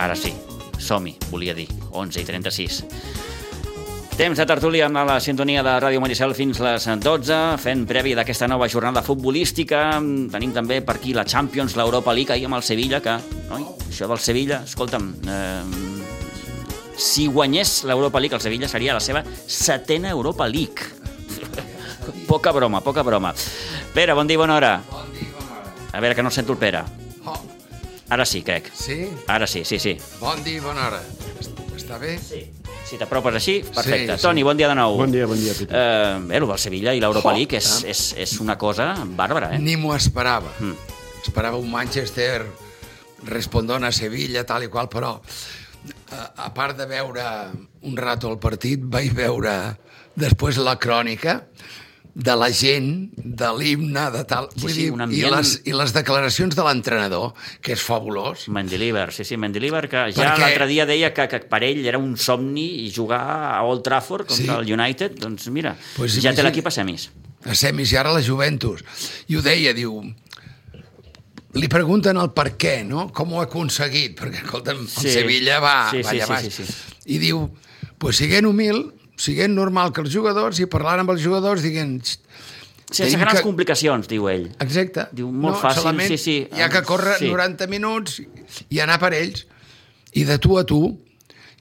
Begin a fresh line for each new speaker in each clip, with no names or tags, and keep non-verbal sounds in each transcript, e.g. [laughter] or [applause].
Ara sí, som-hi, volia dir, 11 i 36. Temps de tertúlia amb la sintonia de Ràdio Maricel fins les 12, fent prèvia d'aquesta nova jornada futbolística. Tenim també per aquí la Champions, l'Europa League, ahir amb el Sevilla, que, noi, això del Sevilla, escolta'm, eh, si guanyés l'Europa League, el Sevilla seria la seva setena Europa League. [laughs] Poca broma, poca broma. Pere, bon dia, bona hora.
Bon dia, bona hora.
A veure, que no sento el Pere.
Oh,
Ara sí, crec.
sí?
Ara sí, sí, sí.
Bon dia, bona hora. Est- Està bé?
Sí. Si t'apropes així, perfecte.
Sí, sí.
Toni, bon dia de nou.
Bon dia, bon dia, Peter.
Eh, bé, el del Sevilla i l'Europa
Jo,
League és, és, és una cosa bàrbara, eh?
Oh, ah. Ni m'ho esperava.
Mm.
Esperava un Manchester respondent a Sevilla, tal i qual, però a, a part de veure un rato el partit, vaig veure després la crònica de la gent, de l'himne, de tal...
Sí, sí, un
i,
ambient-
les, I les declaracions de l'entrenador, que és fabulós,
Mendilibar, sí, sí, Mendilibar, que ja
Perquè-
l'altre dia deia que, que per ell era un somni jugar a Old Trafford contra
Sí.
el United, doncs mira,
Pues
ja té
imagina-
l'equip a semis.
a semis i ara la Juventus. I ho deia, diu... Li pregunten el per què, no? Com ho ha aconseguit? Perquè, escolta'm, el
Sí.
Sevilla va,
Sí,
va
sí,
allà
sí,
baix.
sí, sí.
I diu, pues siguent humil, siguent normal que els jugadors, i parlant amb els jugadors, diguent... "Xt,
Sense
tenim
grans
que-
complicacions, diu ell.
Exacte.
Diu, molt fàcil,
solament
sí, sí.
Hi ha que córrer
Sí.
sí. 90 minuts i anar per ells, i de tu a tu,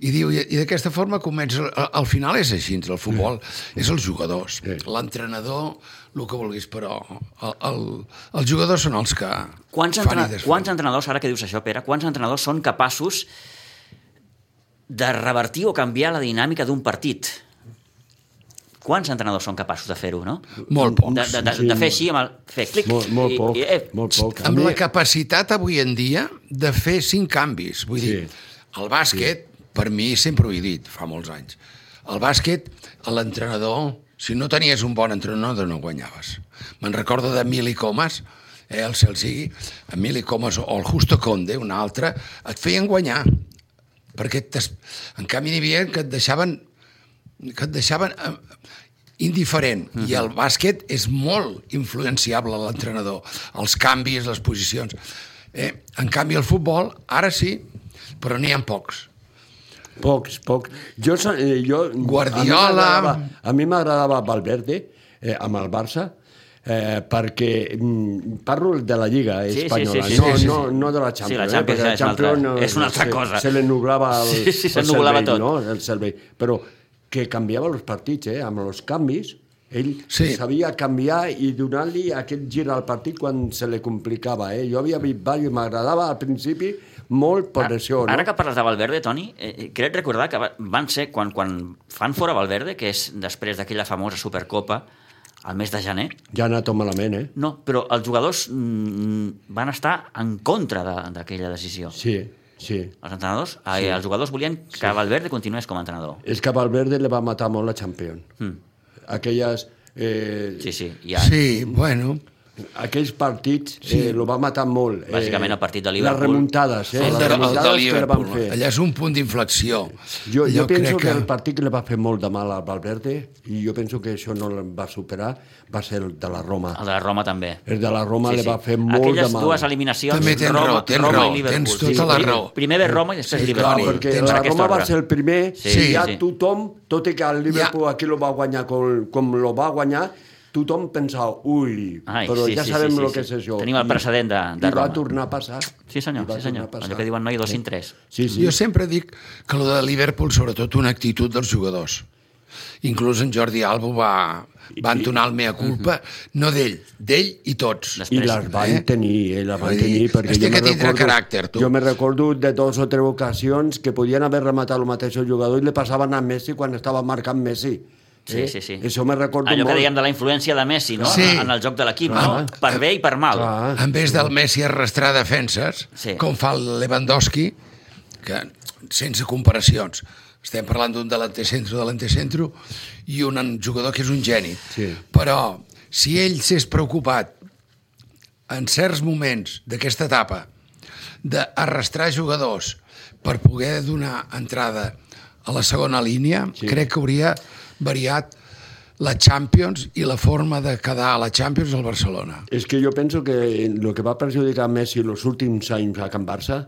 i diu, i, i d'aquesta forma comença... Al, al final és així, el futbol, és els jugadors,
Sí.
l'entrenador, el que vulguis, però el, el, els jugadors són els que
Quants,
fan
entrena...
i desfan.
quants entrenadors, ara que dius això, Pere, quants entrenadors són capaços de revertir o canviar la dinàmica d'un partit? Quants entrenadors són capaços de fer-ho, no?
Molt
De,
pocs.
de, de,
Sí,
de fer
molt.
així, amb el, fer clic...
Molt, molt
i-
poc,
i, eh,
molt poc.
Amb la capacitat avui en dia de fer cinc canvis. Vull
Sí.
dir, el bàsquet, per mi, sempre ho he dit, fa molts anys, el bàsquet, a l'entrenador, si no tenies un bon entrenador, no guanyaves. Me'n recordo d'Emili Comas, eh, el cel sigui, Emili Comas o el Justo Conde, un altre, et feien guanyar. Perquè t'es- en canvi n'hi havia que et deixaven que et deixaven eh, indiferent. Uh -huh. I el bàsquet és molt influenciable a l'entrenador. Els canvis, les posicions... Eh? En canvi, el futbol, ara sí, però n'hi ha pocs.
Pocs, pocs. Jo, so- eh, jo,
Guardiola.
A mi m'agradava Valverde, eh, amb el Barça, eh, perquè mm, parlo de la Lliga
sí,
espanyola,
sí, sí,
no,
sí, sí.
no, no de la Champions.
Sí, la
eh,
Champions
perquè
ja és
la
una altra-
Champions
és una altra
se-
cosa.
Se li nublava el,
Sí, sí, se
el
nublava
cervell,
tot.
no? el cervell. Però que canviava els partits, eh, amb els canvis, ell
Sí.
sabia canviar i donar-li aquest gir al partit quan se li complicava. Eh? Jo havia vist diversos i m'agradava al principi molt per això. No?
Ara que parles de Valverde, Toni, eh, eh, crec recordar que va- van ser, quan, quan fan fora Valverde, que és després d'aquella famosa Supercopa, al mes de gener,
Ja ha anat tot malament, eh?
no, però els jugadors mm, van estar en contra de- d'aquella decisió.
Sí, sí.
Els entrenadors, sí. els jugadors volien que sí. Valverde continués com a entrenador.
És que a Valverde li va matar molt la Champions. Mm. Aquelles... Eh,
Hmm. Sí, sí, ja.
Ja. Sí, bueno...
Aquells partits sí. eh, lo va matar molt. Eh,
Bàsicament el partit de
Les
Liverpool.
remuntades,
El
eh?
de,
les
el
remuntades
de
que li van
Liverpool.
fer.
Allà és un punt d'inflexió.
Jo, jo penso que...
crec
el partit que li va fer molt de mal al Valverde, i jo penso que això no el va superar, va ser el de la Roma.
El de la Roma també.
El de la Roma sí, li va fer molt
Aquelles
de mal.
dues eliminacions,
També tens
Roma,
raó, tens
Roma
raó,
i Liverpool.
tens tota la
Pri-
raó.
Primer ve Roma i després
Sí,
sí,
clar,
Liverpool.
perquè
tens
Per
la
aquesta
Roma va
ordre.
ser el primer,
Sí,
sí, i ja
sí.
sí. tothom, tot i que el Liverpool
Ja.
ja. aquí lo va guanyar com, com lo va guanyar, tothom pensava, ui,
Ai,
però
sí,
ja
sí,
sabem
sí, sí,
el
sí.
que és això.
Tenim el
I-
precedent de- de
I va
Roma.
tornar a passar.
Sí, senyor,
I va
sí, senyor.
tornar a
Allò
passar.
que diuen noi 203.
Sí, sí.
Jo sempre dic que el de Liverpool, sobretot, una actitud dels jugadors. Inclús en Jordi Alba ho va, van donar el mea culpa, no d'ell, d'ell i tots.
Després-
I les van
Eh?
eh? tenir, eh? la van
Vull dir,
tenir, perquè
es té
jo me
que tindre
recordo...
caràcter, tu.
Jo me recordo de dos o tres ocasions que podien haver rematat el mateix jugador i li passaven a Messi quan estava marcant Messi. Eh?
Sí, sí, sí.
Això me recordo
Allò
molt.
que dèiem de la influència de Messi, no?
Sí.
En el joc de l'equip, no?
Clar.
Per bé i per mal.
Clar.
en vez del Messi arrastrar defenses,
Sí.
sí. com fa el Lewandowski, que sense comparacions, estem parlant d'un delanter centro, delanter centro, i un jugador que és un geni.
Sí.
Però si ell s'és preocupat en certs moments d'aquesta etapa d'arrastrar jugadors per poder donar entrada a la segona línia, sí. crec que hauria variat la Champions i la forma de quedar a la Champions al Barcelona.
És que jo penso que el que va perjudicar Messi els últims anys a Can Barça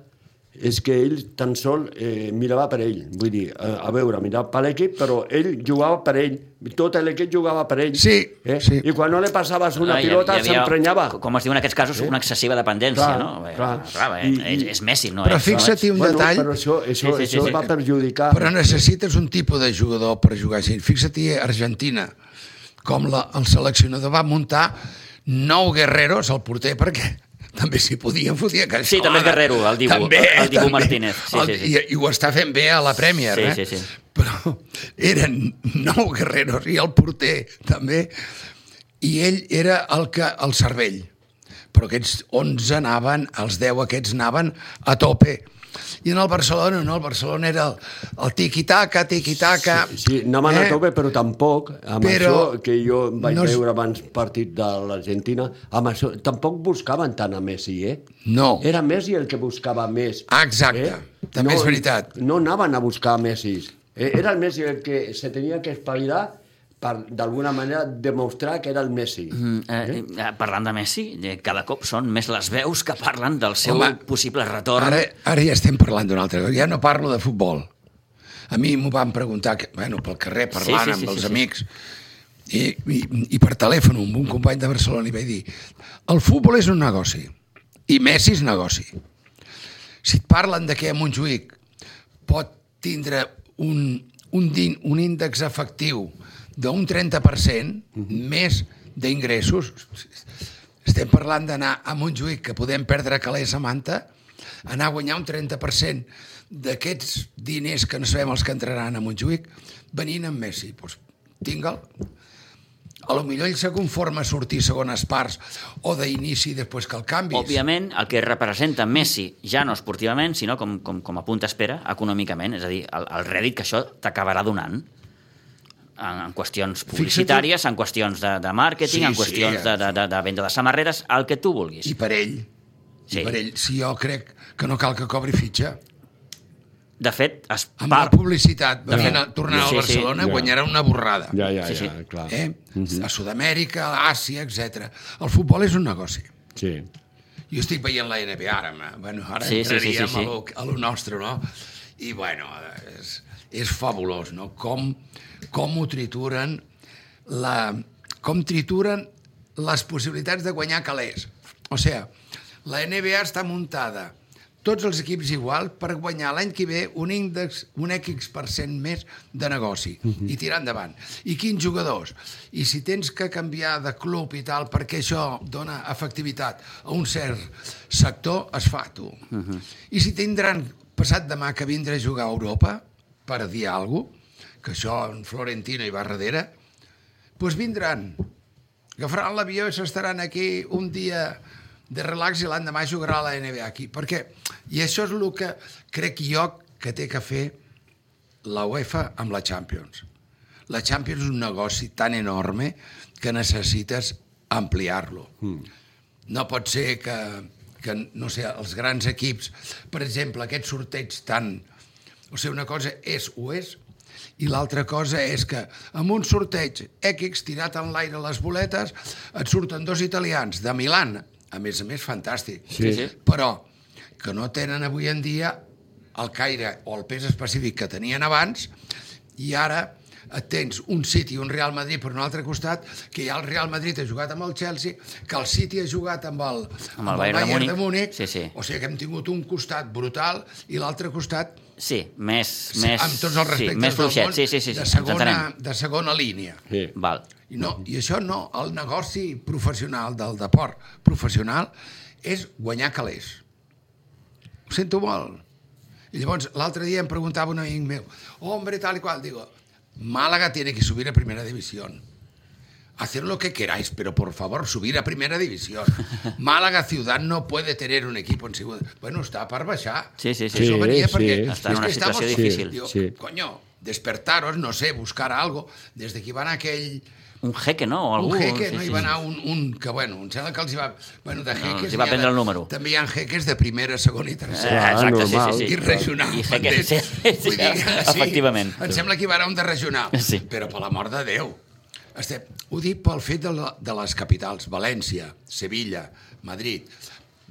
és que ell tan sol eh, mirava per ell, vull dir, a, a veure, mirava per l'equip, però ell jugava per ell, tot l'equip jugava per ell.
Sí,
eh?
sí.
I quan no li passaves
Ah,
una ah,
hi ha-
pilota,
hi havia,
s'emprenyava.
Com es diu en aquests casos, una excessiva dependència,
Clar,
no? Bé,
clar.
clar I,
I-
és,
i-
és Messi, no
Però
és... no
fixa't
és-
un detall.
Però això, això,
Sí, sí, sí,
això
sí.
va perjudicar...
Però necessites un tipus de jugador per jugar així. Fixa-t'hi a Argentina, com la, el seleccionador va muntar nou guerreros al porter perquè [laughs] també s'hi podien fotia que
Sí, també és guerrero, el Dibu, el Dibu Martínez. Sí, sí, sí.
I, I ho està fent bé a la Premier,
Sí,
eh?
sí, sí.
Però [laughs] eren nou guerreros i el porter també. I ell era el que el cervell. Però aquests 11 anaven, els 10 aquests anaven a tope. I en el Barcelona, no, el Barcelona era el, el tiqui-taca, tiqui-taca...
Sí, anaven eh? a tope, però tampoc, amb
Però
això que jo vaig
no
no
és-
veure abans partit de l'Argentina, amb això, tampoc buscaven tant a Messi, eh?
No.
Era Messi el que buscava més. eh?
Ah, exacte. També és veritat.
No anaven a buscar Messi. Eh, Era el Messi el que se tenia que espavilar per, d'alguna manera, demostrar que era el Messi.
Mm, eh, eh, parlant de Messi, eh, cada cop són més les veus que parlen del seu
Home,
possible retorn.
Ara, ara ja estem parlant d'una altra cosa. Ja no parlo de futbol. A mi m'ho van preguntar, que, bueno, pel carrer, parlant sí, sí, sí, amb els
sí.
sí, amics, i, i, i per telèfon amb un company de Barcelona i vaig dir el futbol és un negoci i Messi és negoci. Si et parlen de que a Montjuïc pot tindre un, un, din, un índex efectiu d'un 30% més d'ingressos, estem parlant d'anar a Montjuïc, que podem perdre calés a Manta, anar a guanyar un 30% d'aquests diners que no sabem els que entraran a Montjuïc, venint amb Messi. Doncs, Tinga'l. A lo millor ell se conforma a sortir segones parts o d'inici i després que el canvis.
Òbviament, el que representa Messi, ja no esportivament, sinó com, com, com a punt d'espera, econòmicament, és a dir, el, el rèdit que això t'acabarà donant en, en qüestions publicitàries, en qüestions de, de màrqueting,
Sí,
en
sí,
qüestions
eh.
de, de, de, de venda de samarreres, el que tu vulguis.
I per ell.
Sí.
Sí. I per ell. Si jo crec que no cal que cobri fitxa.
De fet, es
Amb
par...
la publicitat,
De fet.
venint a, tornant
Sí, sí,
al Barcelona,
ja.
guanyarà una borrada.
Ja, ja,
Sí,
sí,
sí.
sí. ja, clar. Eh?
Eh? A Sud-amèrica, a Àsia, etc. El futbol és un negoci.
Sí.
Jo estic veient la NBA ara, ma. bueno, ara
Sí, sí, sí,
sí,
sí,
entraríem sí, sí,
sí.
sí, sí. a lo nostre, no? I, bueno, és, és fabulós, no? Com, com ho trituren, la, com trituren les possibilitats de guanyar calés. O sea, la NBA està muntada tots els equips igual per guanyar l'any que ve un índex, un X per cent més de negoci i tirar endavant. I quins jugadors? I si tens que canviar de club i tal perquè això dona efectivitat a un cert sector, es fa tu. I si tindran passat demà que vindre a jugar a Europa per dir alguna cosa, que això en Florentino hi va darrere, doncs vindran agafaran l'avió i s'estaran aquí un dia de relax i l'endemà jugarà a la NBA aquí. Perquè, i això és el que crec jo que té que fer la UEFA amb la Champions. La Champions és un negoci tan enorme que necessites ampliar-lo. Mm. No pot ser que, que, no sé, els grans equips, per exemple, aquest sorteig tan... O sigui, una cosa és o és, i l'altra cosa és que amb un sorteig X tirat en l'aire les boletes et surten dos italians de Milan, a més a més fantàstic,
Sí, sí.
però que no tenen avui en dia el caire o el pes específic que tenien abans i ara et tens un City i un Real Madrid per un altre costat, que ja el Real Madrid ha jugat amb el Chelsea, que el City ha jugat amb el,
Amb el Bayern de
de
Múnich.
Múnich.
Sí, sí.
O sigui que hem tingut un costat brutal i l'altre costat
Sí, més...
sí,
més
amb tots els
sí,
respectes
més
del
fluixet.
món,
Sí, sí, sí, sí.
de,
ens
segona,
entenem.
de segona línia.
sí.
Val.
I, no, I això no, el negoci professional del deport professional és guanyar calés. Ho sento molt. I llavors, l'altre dia em preguntava un amic meu, hombre, tal y cual, digo, Málaga tiene que subir a primera división. Hacer lo que queráis, pero por favor, subir a primera
[laughs]
división. Málaga ciudad no puede tener un equipo en segunda. Bueno, está para baixar.
Sí, sí, sí.
Sí,
Eso venía porque
sí.
Está en
es
una
que estamos-
situación difícil.
Digo,
Sí, sí.
Coño, despertaros, no sé, buscar algo. Desde que iban a aquell
Un jeque, no? O algú,
un jeque,
sí,
no?
sí,
Hi va
sí. Ah,
anar un, un que, bueno, em sembla que els hi va... Bueno, de jeques...
els hi va
n'hi ha
prendre
de-
el número.
També hi ha jeques de primera, segona i tercera.
Eh, exacte,
normal.
sí, sí, sí.
I regional.
I jeque,
m'entens?
sí, sí, sí,
Vull dir que
efectivament.
Em sembla que hi va anar un de regional.
Sí.
Però, per l'amor de Déu, estem, ho dic pel fet de, la, de les capitals, València, Sevilla, Madrid.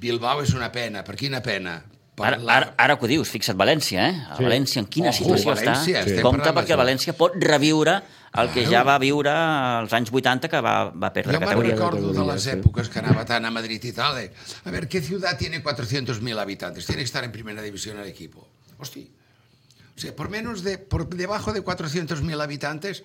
Bilbao és una pena. Per quina pena?
Ara, ara, ara que ho dius, fixa't, València, eh? A
Sí.
València, en quina
Ojo,
situació
Oh, València,
està.
estem
Compte
parlant
perquè
d'això.
València pot reviure el que ja va viure als anys 80, que va, va perdre
Yo me
categoria.
recuerdo de
Categoría,
las
sí.
épocas que anaba tan a Madrid y tal. eh. A ver, ¿qué ciudad tiene 400.000 habitantes? Tiene que estar en primera división el equipo. Hostia. O sea, por menos de, por debajo de 400.000 habitantes,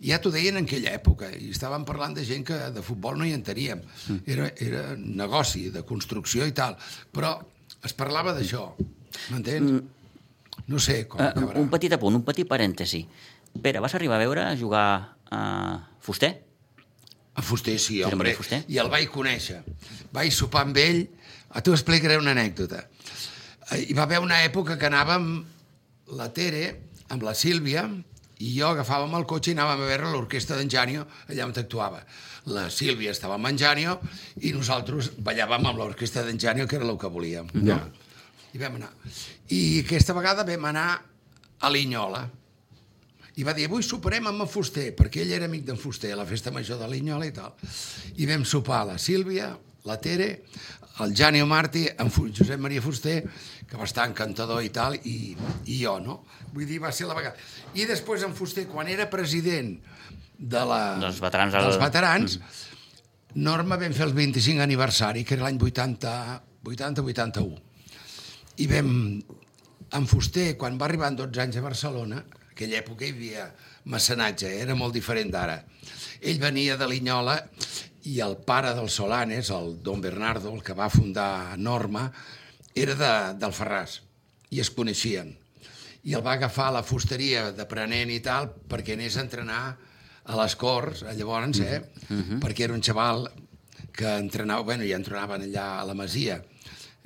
ja t'ho deien en aquella època, i estàvem parlant de gent que de futbol no hi enteníem.
Mm.
Era, era negoci, de construcció i tal. Però es parlava d'això, m'entens? No sé com
Mm. Eh,
acabarà.
un petit apunt, un petit parèntesi. Pere, vas arribar a veure a jugar a Fuster?
A Fuster, sí,
Josep
home.
Maria Fuster.
I el vaig conèixer. Vaig sopar amb ell. A tu explicaré una anècdota. Eh, Hi va haver una època que anàvem la Tere amb la Sílvia i jo agafàvem el cotxe i anàvem a veure l'orquestra d'en Janio allà on actuava. La Sílvia estava amb en Janio i nosaltres ballàvem amb l'orquestra d'en Janio, que era el que volíem. No?
Ja.
I vam anar. I aquesta vegada vam anar a Linyola. I va dir, avui soparem amb en Fuster, perquè ell era amic d'en Fuster, a la festa major de Linyola i tal. I vam sopar la Sílvia, la Tere, el Janio Martí, en Fu- Josep Maria Fuster, que va estar encantador i tal, i, i jo, no? Vull dir, va ser la vegada. I després en Fuster, quan era president de la,
Dels veterans del- Mm.
dels veterans Norma vam fer el 25 aniversari, que era l'any 80, 80-81 i vam... En Fuster, quan va arribar en 12 anys a Barcelona, en aquella època hi havia mecenatge, eh? era molt diferent d'ara. Ell venia de Linyola i el pare del Solanes, el Don Bernardo, el que va fundar Norma, era de, del Ferraz i es coneixien. I el va agafar a la fusteria d'aprenent i tal perquè anés a entrenar a les Corts, a llavors, eh? Perquè era un xaval que entrenava, bueno, ja entrenaven allà a la Masia,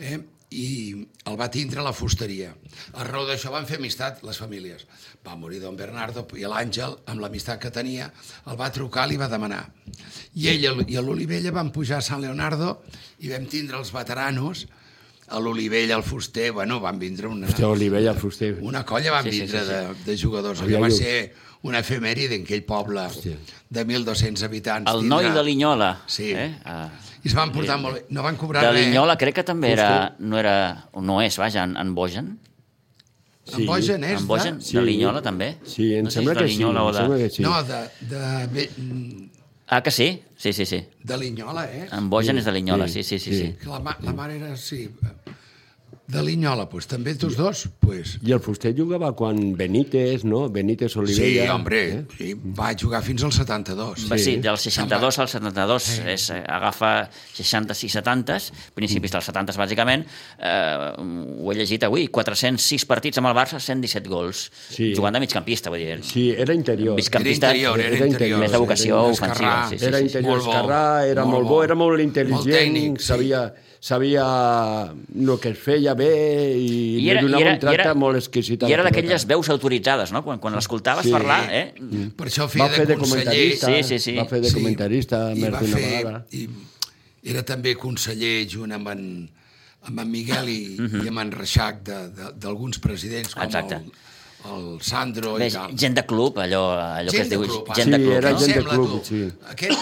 eh? i el va tindre a la fusteria. A raó d'això van fer amistat les famílies. Va morir don Bernardo i l'Àngel, amb l'amistat que tenia, el va trucar, li va demanar. I ell i l'Olivella van pujar a Sant Leonardo i vam tindre els veteranos, a l'Olivella, al Fuster, bueno, van vindre una,
Hòstia, Olivella, Fuster.
una colla van
Sí, sí,
vindre
sí, sí.
De, de jugadors.
Havia
Allò va
lluny.
ser una efemèride en aquell poble
Hòstia.
de 1.200 habitants.
El noi
tindrà.
de Linyola.
Sí.
Eh? Ah.
I es van portar molt bé. No van cobrar
De
res.
Linyola crec que també era, no era, no és, vaja, en, en Bojan.
En Bogen és
en Bojan,
de...
de Linyola també.
Sí, em
No sé si
sembla
és de
que sí.
Linyola o
Em
de-
sembla que sí.
No, de, de, de,
Ah, que sí? Sí, sí, sí.
de Linyola, eh?
En Bojan és de Linyola, sí,
sí,
sí, sí. sí.
sí.
Que La, ma, la mare era, sí, de Linyola, pues, també tots dos, pues.
I el Fuster jugava quan Benítez, no? Benítez
Sí,
Olivella.
hombre,
Eh?
sí, va jugar fins al 72.
Va, sí,
Sí.
del 62 al 72 és, eh, agafa 60 i 70,
Mm.
principis dels 70 bàsicament, eh, ho he llegit avui, 406 partits amb el Barça, 117 gols,
Sí.
jugant de migcampista, vull dir,
Sí, era interior.
Era
migcampista
interior, era,
Era
interior.
interior. Més de
vocació
d'esquerrà.
ofensiva, sí, sí,
Era
sí.
interior
Molt bo,
esquerrà, era molt, bo, era molt intel·ligent,
tècnic, sí.
sabia, sabia el que es feia bé i,
I era,
li
i
donava
era,
un tracte molt exquisit. a
i
la
era
pilota.
d'aquelles veus autoritzades, no? Quan, quan l'escoltaves
Sí. Mm.
parlar, eh?
Per això
Va
feia
fer de
conseller.
comentarista,
Sí, sí, sí.
va fer de
Sí,
comentarista
i
més
va
d'una
fer-
vegada.
I era també conseller junt amb en, amb en Miguel i,
Mhm.
i amb en Reixac de- de- d'alguns presidents com
Exacte.
el, el Sandro
Ves,
i tal.
gent de club, allò, allò que es diu
ah.
gent de
Sí,
club,
era
no?
gent de
Sembla,
club,
tu,
sí.
Aquest,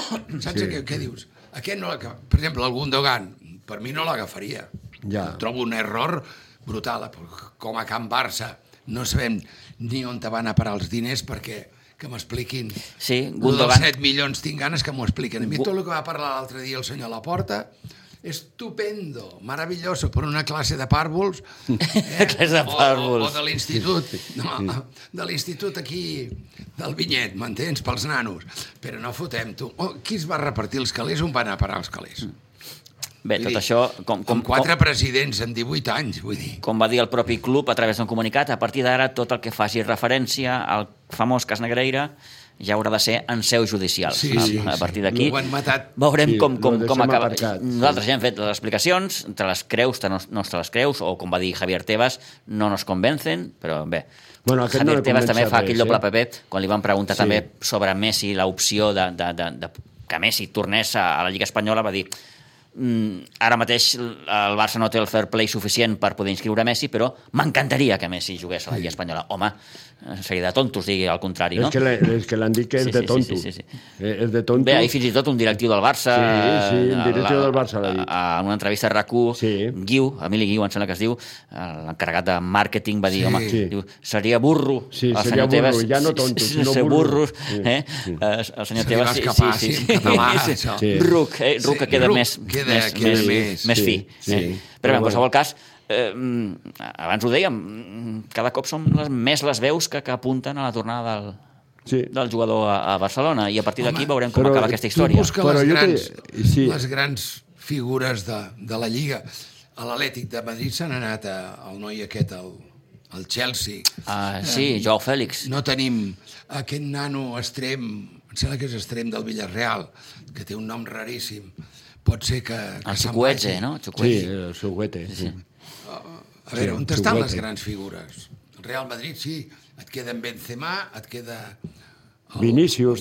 saps què, què dius? Aquest no l'acaba. Per exemple, el Gundogan, per mi no l'agafaria.
Ja.
Trobo un error brutal. Com a Can Barça, no sabem ni on te van a parar els diners perquè que m'expliquin.
Sí,
Lo
Gundogan-
Dels 7 milions tinc ganes que m'ho expliquen. A mi tot el que va parlar l'altre dia el senyor Laporta, estupendo, maravilloso, per una classe de
[laughs]
pàrvols.
[laughs]
Eh?
Classe de
O- o-
pàrvols.
O, de l'institut. No, de l'institut aquí del Vinyet, m'entens? Pels nanos. Però no fotem, tu. Oh, qui es va repartir els calés? On van anar a parar els calés?
Mm. Bé, tot
Vull dir,
això, com, com,
amb quatre presidents en 18 anys, vull dir.
Com va dir el propi club a través d'un comunicat, a partir d'ara tot el que faci referència al famós cas Negreira ja haurà de ser en seu judicial.
Sí,
a,
sí,
a
sí.
partir d'aquí
Ho han matat.
veurem
Sí,
com, com,
ho deixem
com acaba.
aparcat, sí.
Nosaltres ja hem fet les explicacions, te les creus, te no, no te les creus, o com va dir Javier Tebas, no nos convencen, però bé.
Bueno, aquest no
Javier
l'he
Tebas també
convençut
fa
res,
aquell doble
eh?
paper quan li van preguntar
Sí.
també sobre Messi, l'opció de, de, de, de, que Messi tornés a, a la Lliga Espanyola, va dir Mm, ara mateix el Barça no té el fair play suficient per poder inscriure Messi, però m'encantaria que Messi jugués a la Lliga Espanyola. Home, seria de tontos digui el contrari, no?
És que le- és que l'han dit que és
Sí,
de
sí,
tonto.
sí, sí, sí.
Eh, És de tonto.
Bé, ahir fins i tot un directiu del Barça...
Sí, sí, un
eh,
directiu
la-
del Barça l'ha dit.
a- En una entrevista a RAC1,
Sí.
Guiu, Emili Guiu, em sembla que es diu, eh, l'encarregat de màrqueting, va dir,
Sí.
home,
Sí.
diu, seria burro
Sí,
el
seria
senyor Tebas.
burro, ja no tonto,
sí,
sinó
ser
burro.
burros,
Sí,
eh? Eh, El senyor
Se li va
Tebas...
escapar, sí, en català, això.
Sí.
Ruc, eh? Ruc
Sí,
que queda
ruc,
més...
queda-
més,
queda
més,
més.
més
Sí,
fi.
sí.
eh?
Però
Però, bé, en
bueno.
qualsevol cas, eh, mm, abans ho dèiem, mm, cada cop són les, més les veus que, que apunten a la tornada del,
Sí.
del jugador a, a Barcelona i a partir d'aquí
Home,
veurem com
però
acaba aquesta
tu
història.
Tu busca
Però
les
jo
grans,
que- sí.
les grans figures de, de la Lliga. A l'Atlètic de Madrid s'han anat a, al noi aquest, al, al Chelsea.
Ah, sí, Joao Fèlix.
No tenim aquest nano extrem, em sembla que és extrem del Villarreal, que té un nom raríssim. Pot ser que... que
El
se'n
Chukwueze,
vagi.
no?
Sí,
Chukwueze.
el seu guete. Sí.
A veure, on
Sí,
estan les
Chukwueze.
grans figures? El Real Madrid, sí. Et queda en Benzema, et queda...
Vinícius,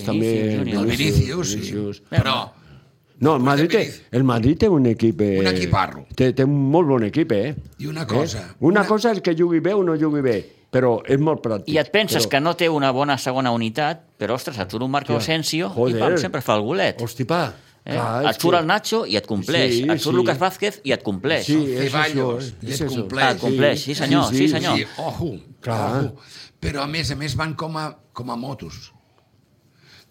Vinícius,
també.
Junior.
El Vinícius, Oh. sí.
Vinícius.
Però...
No, el Madrid, té,
Vinícius.
el Madrid té un equip... Eh,
Un equiparro.
Té, té un molt bon equip, eh?
I una cosa,
Eh? Una,
una-
cosa és que jugui bé o no jugui bé, però és molt pràctic.
I et penses
però...
que no té una bona segona unitat, però, ostres, et surt un Marco Asensio i pam, sempre fa el golet.
Hosti, pa.
Eh?
Clar, és
Et surt
que-
el Nacho i et compleix.
Sí,
et surt
sí.
Lucas Vázquez i et compleix.
Sí,
El
és això. eh?
Ceballos, i
és
et
això.
compleix. Ah,
compleix, sí, senyor, sí, senyor.
Sí, ojo,
Clar.
ojo. Però a més a més van com a, com a motos.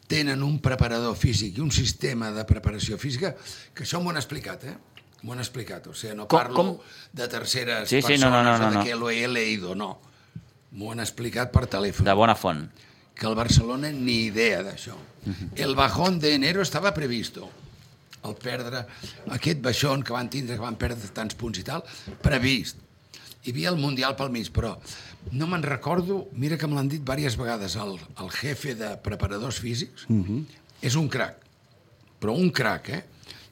Tenen un preparador físic i un sistema de preparació física que això m'ho han explicat, eh? M'ho han explicat, o sigui, no
Com-
parlo
com?
de terceres
Sí, sí,
persones
no, no, no,
o
no,
de
no.
que lo he leído, no. M'ho han explicat per telèfon
De bona font.
que el Barcelona ni idea d'això. El bajón de enero estava previsto. El perdre, aquest baixón que van tindre, que van perdre tants punts i tal, previst. Hi havia el Mundial pel mig, però no me'n recordo, mira que me l'han dit diverses vegades, el, el jefe de preparadors físics és un crac, però un crac, eh?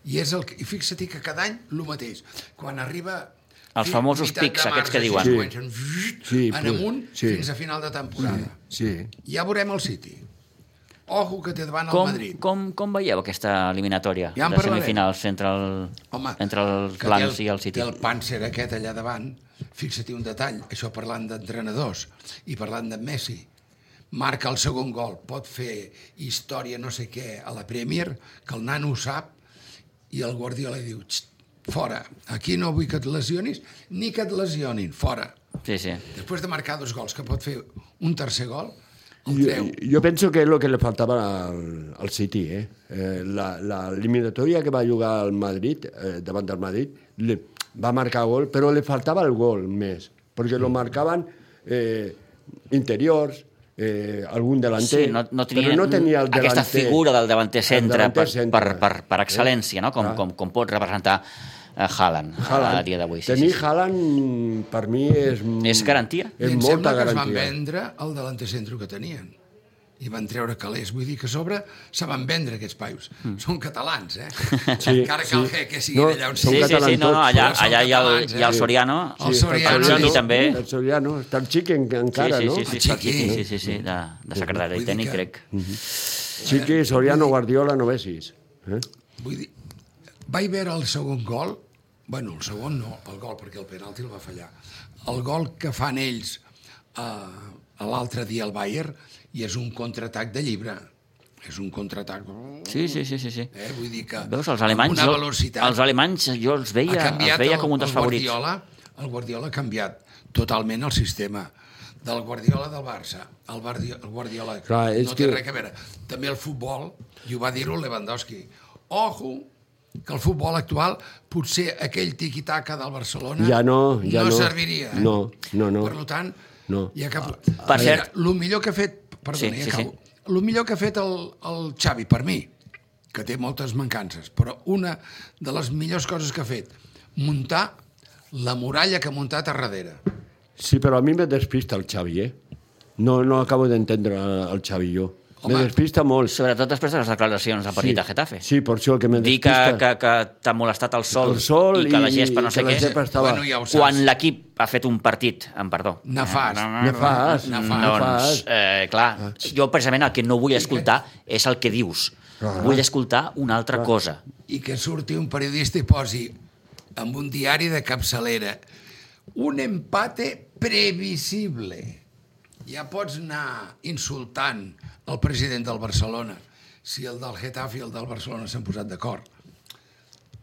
I, és el, que- I fixa-t'hi que cada any el mateix. Quan arriba...
Els
fi-
famosos
meitat de
pics, aquests que
març,
diuen.
així,
Sí.
comencen,
Sí,
en
però-
amunt
sí.
fins a final de temporada.
Sí.
Ja veurem el City. Ojo que té davant
Com,
el Madrid.
com, com veieu aquesta eliminatòria
Ja en
de
parlarem.
semifinals entre, el,
Home,
entre els
que té
blancs i el
Té
City?
el pàncer aquest allà davant. Fixa-t'hi un detall, això parlant d'entrenadors i parlant de Messi. Marca el segon gol, pot fer història no sé què a la Premier, que el nano ho sap, i el Guardiola diu, "Xt, fora, aquí no vull que et lesionis, ni que et lesionin, fora.
Sí, sí.
Després de marcar dos gols, que pot fer un tercer gol, el
Jo,
treu.
jo penso que és el que li faltava al, al City, eh? eh la, la eliminatòria que va jugar al Madrid, eh, davant del Madrid, li, va marcar gol, però li faltava el gol més, perquè
Mm.
lo marcaven eh, interiors, eh, algun delanter,
Sí, no, no tenia,
però no tenia el delanter.
aquesta figura del davanter centre,
el Eh,
per, per, per, per excel·lència, no? com,
Clar.
com, com pot representar eh, Haaland,
Ah. Haaland.
a dia d'avui. Sí,
Tenir
sí,
Haaland, per mi, és...
sí. És garantia?
I
És
em
molta
sembla que es van
garantia.
vendre el delanter centre que tenien i van treure calés. Vull dir que a sobre se van vendre aquests paios. Mm. Són catalans, eh?
Sí,
Encara que,
sí.
el, que siguin
No,
allà on
són
Sí,
siguin.
sí, sí, no, no, allà,
Però són
allà hi ha el,
catalans, eh?
hi ha el Soriano,
El Soriano,
el Chiqui
sí.
també.
El Soriano, està el Chiqui en- encara,
sí, sí,
no?
Sí, sí,
El
sí, el
Chiqui.
Chiqui, sí, sí, sí, de, de secretari
Vull dir
tècnic,
que-
crec.
Chiqui, Soriano, Guardiola, no vessis. Eh?
Vull dir, vaig veure el segon gol, bueno, el segon no, el gol, perquè el penalti el va fallar. El gol que fan ells eh, a l'altre dia al Bayern i és un contraatac de llibre. És un contraatac...
Sí, sí, sí, sí, sí.
Eh? Vull dir que...
Veus, els
amb
alemanys,
Una
jo,
velocitat...
els alemanys jo els
ha
veia,
canviat
els veia com un dels
el
favorits.
Guardiola, el Guardiola ha canviat totalment el sistema del Guardiola del Barça. El, Guardi- el Guardiola
Clar, és
no té
que-
res a veure. També el futbol, i ho va dir-ho Lewandowski, ojo, que el futbol actual potser aquell tiqui-taca del Barcelona
Ja no, ja no.
serviria. Eh?
No, no, no.
Per tant,
No.
hi ha cap...
Per cert-
El millor que ha fet... Perdona,
Sí, sí,
sí, ja acabo. Sí, sí. El millor que ha fet el, el Xavi, per mi, que té moltes mancances, però una de les millors coses que ha fet, muntar la muralla que ha muntat a darrere.
Sí, però a mi me despista el Xavi, eh? No, no acabo d'entendre el Xavi, jo. Me
Home.
despista molt.
Sobretot després de les declaracions del partit sí. a Getafe.
Sí, per això que me
Dir que,
despista.
que, que t'ha molestat el sol,
El sol
i que la
i-
gespa
i
no sé
que la
què,
gespa estava-
Bueno, ja ho saps.
quan l'equip ha fet un partit, amb perdó.
Nefast.
Nefast,
no, Ah.
nefast.
Doncs, eh, clar, jo precisament el que no vull escoltar és el que dius. Ah. Vull escoltar una altra ah. cosa.
I que surti un periodista i posi amb un diari de capçalera un empate previsible. Ja pots anar insultant el president del Barcelona si el del Getafe i el del Barcelona s'han posat d'acord.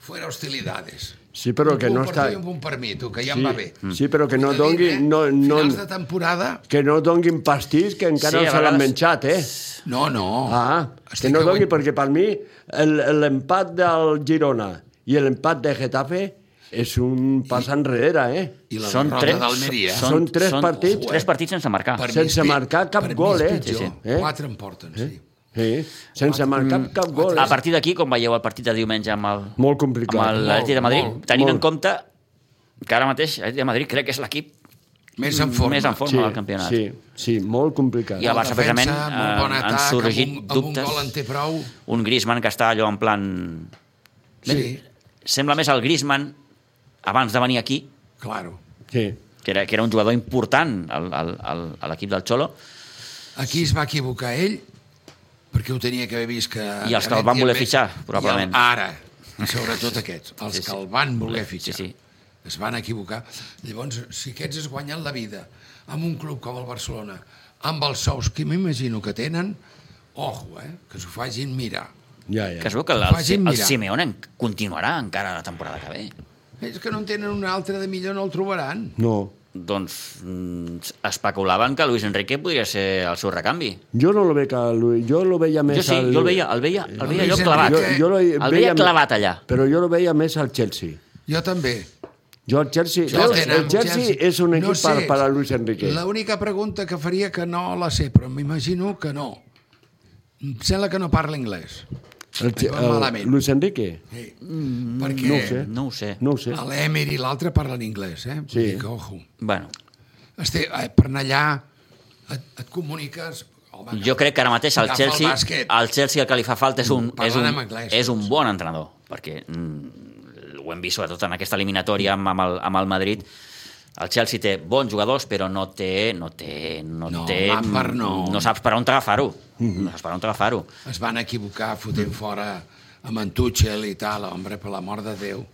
Fuera hostilidades.
Sí, però que
un
no
per
està-
tu i Un punt per mi, tu, que ja
Sí,
em
Mm.
va bé.
sí, però que no
És a dir,
dongui-
eh,
no- no-
Finals de temporada...
Que no donguin pastís, que encara
Sí,
sí,
a
se l'han
vegades-
menjat, eh?
No, no.
Ah,
Estic
que no doni,
avui-
perquè per mi el- l'empat del Girona i l'empat de Getafe és un pas enrere, eh?
I la Són derrota d'Almeria.
són- tres partits.
Tres partits sense marcar.
Per mi
sense
és pi-
marcar cap
per mi
gol,
és
eh?
pitjor.
Sí,
sí. Eh?
Quatre en porten, sí.
Sí, sense marcar cap gol.
Mm. A
eh?
partir d'aquí, com veieu el partit de diumenge amb el,
Molt complicat.
amb el- l'Atlètic de Madrid,
molt,
tenint
molt.
en compte que ara mateix l'Atlètic de Madrid crec que és l'equip
Més en forma.
més en forma
sí,
del campionat.
Sí, sí, molt complicat.
I el Barça, precisament,
molt bon
eh, han
atac,
sorgit
amb un,
dubtes.
Amb un gol en té prou.
Un Griezmann que està allò en plan...
Sí,
Sembla més el Griezmann abans de venir aquí,
claro.
Sí.
que era, que era un jugador important al, al, al, a l'equip del Xolo,
Aquí es va equivocar ell perquè ho tenia que haver vist que...
I els que el van voler
Messi-
fitxar, probablement.
I el, ara, i sobretot aquests, els
Sí,
sí,
sí.
que el van voler
Sí,
fitxar.
sí.
Es van equivocar. Llavors, si aquests es guanyen la vida amb un club com el Barcelona, amb els sous que m'imagino que tenen, ojo, eh, que s'ho facin mirar.
Ja, ja.
que es veu que el,
Facin
el, el
mirar.
Simeone en- continuarà encara la temporada que ve.
És que no en tenen un altre de millor, no el trobaran.
No,
Doncs mm, especulaven que Luis Enrique podria ser el seu recanvi.
jo no lo veig a Luis, jo lo veia més
Jo sí,
al...
jo el veia, el veia, el veia allò
Luis
clavat.
Jo,
Enrique-
jo lo
El veia clavat allà.
Però jo lo veia més al Chelsea.
Jo també.
Jo al Chelsea...
Jo
Veus,
tenen
el Chelsea,
Chelsea.
és un
No
equip
sé.
per, per a Luis Enrique.
L'única pregunta que faria que no la sé, però m'imagino que no. Em sembla que no parla anglès.
El, Che-
va
el,
malament.
Luis Enrique?
Sí. Mm, perquè
no ho sé.
No ho sé.
No ho sé.
l'Emer i l'altre parlen anglès, eh?
Sí.
Vull dir que, ojo.
Bueno,
Este, eh, per anar allà et, et comuniques... Home,
jo crec que ara mateix el
Agafa el
Chelsea,
bàsquet.
el Chelsea el que li fa falta és un,
Parlant
és un,
en anglès.
és un bon entrenador, perquè mm, ho hem vist sobretot en aquesta eliminatòria amb, amb, el, amb el Madrid. El Chelsea té bons jugadors, però no té... No, té, no,
No,
té,
Lampard no.
no saps per on agafar-ho.
Mhm.
No saps per on agafar-ho.
Es van equivocar fotent fora amb en Tuchel i tal, home, per l'amor de Déu.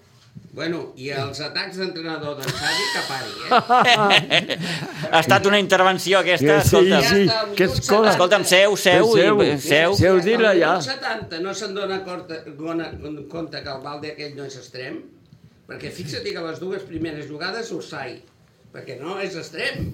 Bueno, i els atacs d'entrenador d'en Xavi, que pari, eh?
Ah,
Ha estat una intervenció aquesta,
Que sí,
escolta.
ja
sí,
està, el
que
minut
escola.
setanta.
Escolta'm, seu, seu,
Seu,
i, seu.
seu. Déu, dila
Al
ja.
minut 70 no se'n dona compte, gona- compte que el balde aquell no és extrem, perquè fixa't que les dues primeres jugades Ursai, perquè no és extrem,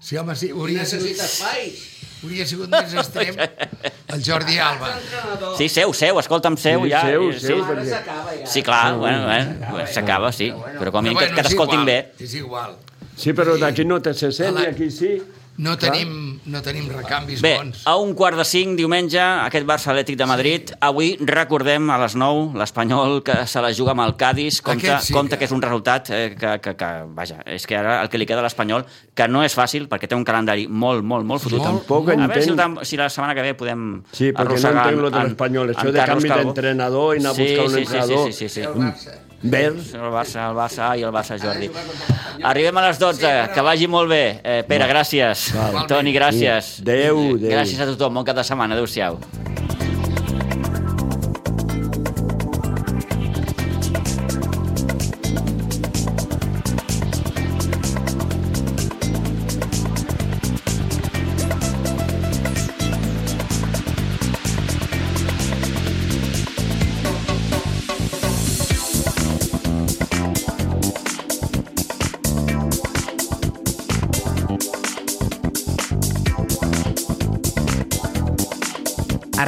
Sí, home, sí,
i
hauria
necessita
sigut,
espais.
hauria sigut
[laughs]
més extrem el Jordi Alba.
L'entrenador,
Sí, seu, seu, escolta'm, seu,
Sí,
ja. eh,
seu,
sí.
seu,
ara s'acaba ja.
Sí, clar, bueno, eh? s'acaba, sí. Però com a mínim que, que
és
t'escoltin
igual,
bé.
És igual.
Sí, però d'aquí no te se sent i
Hola.
aquí sí.
No tenim, no tenim recanvis
Bé,
bons.
a un quart de cinc diumenge, aquest Barça Atlètic de Madrid. Avui recordem a les 9 l'Espanyol que se la juga amb el Cádiz. Compte,
Aquest sí
compte
que-
que... és un resultat eh, que, que, que, vaja, és que ara el que li queda a l'Espanyol, que no és fàcil perquè té un calendari molt, molt, molt fotut.
Molt,
Tampoc
a veure si, el,
entenc-
tam- si la setmana que ve podem
Sí, perquè no
arrossegar
entenc lo de
en-
l'espanyol,
en
això de
Carlos
canvi
Calvo.
d'entrenador, i anar a
sí,
buscar un
sí,
entrenador.
Sí, sí, sí, sí.
El Barça.
Verds,
El Barça, el Barça i el Barça Jordi.
jugar contra l'Espanyol.
Arribem a les 12, que vagi molt bé. Eh, Pere, gràcies.
Val.
Toni, gràcies.
Adéu, adéu.
Gràcies a tothom, bon cap de setmana. Adéu-siau.
A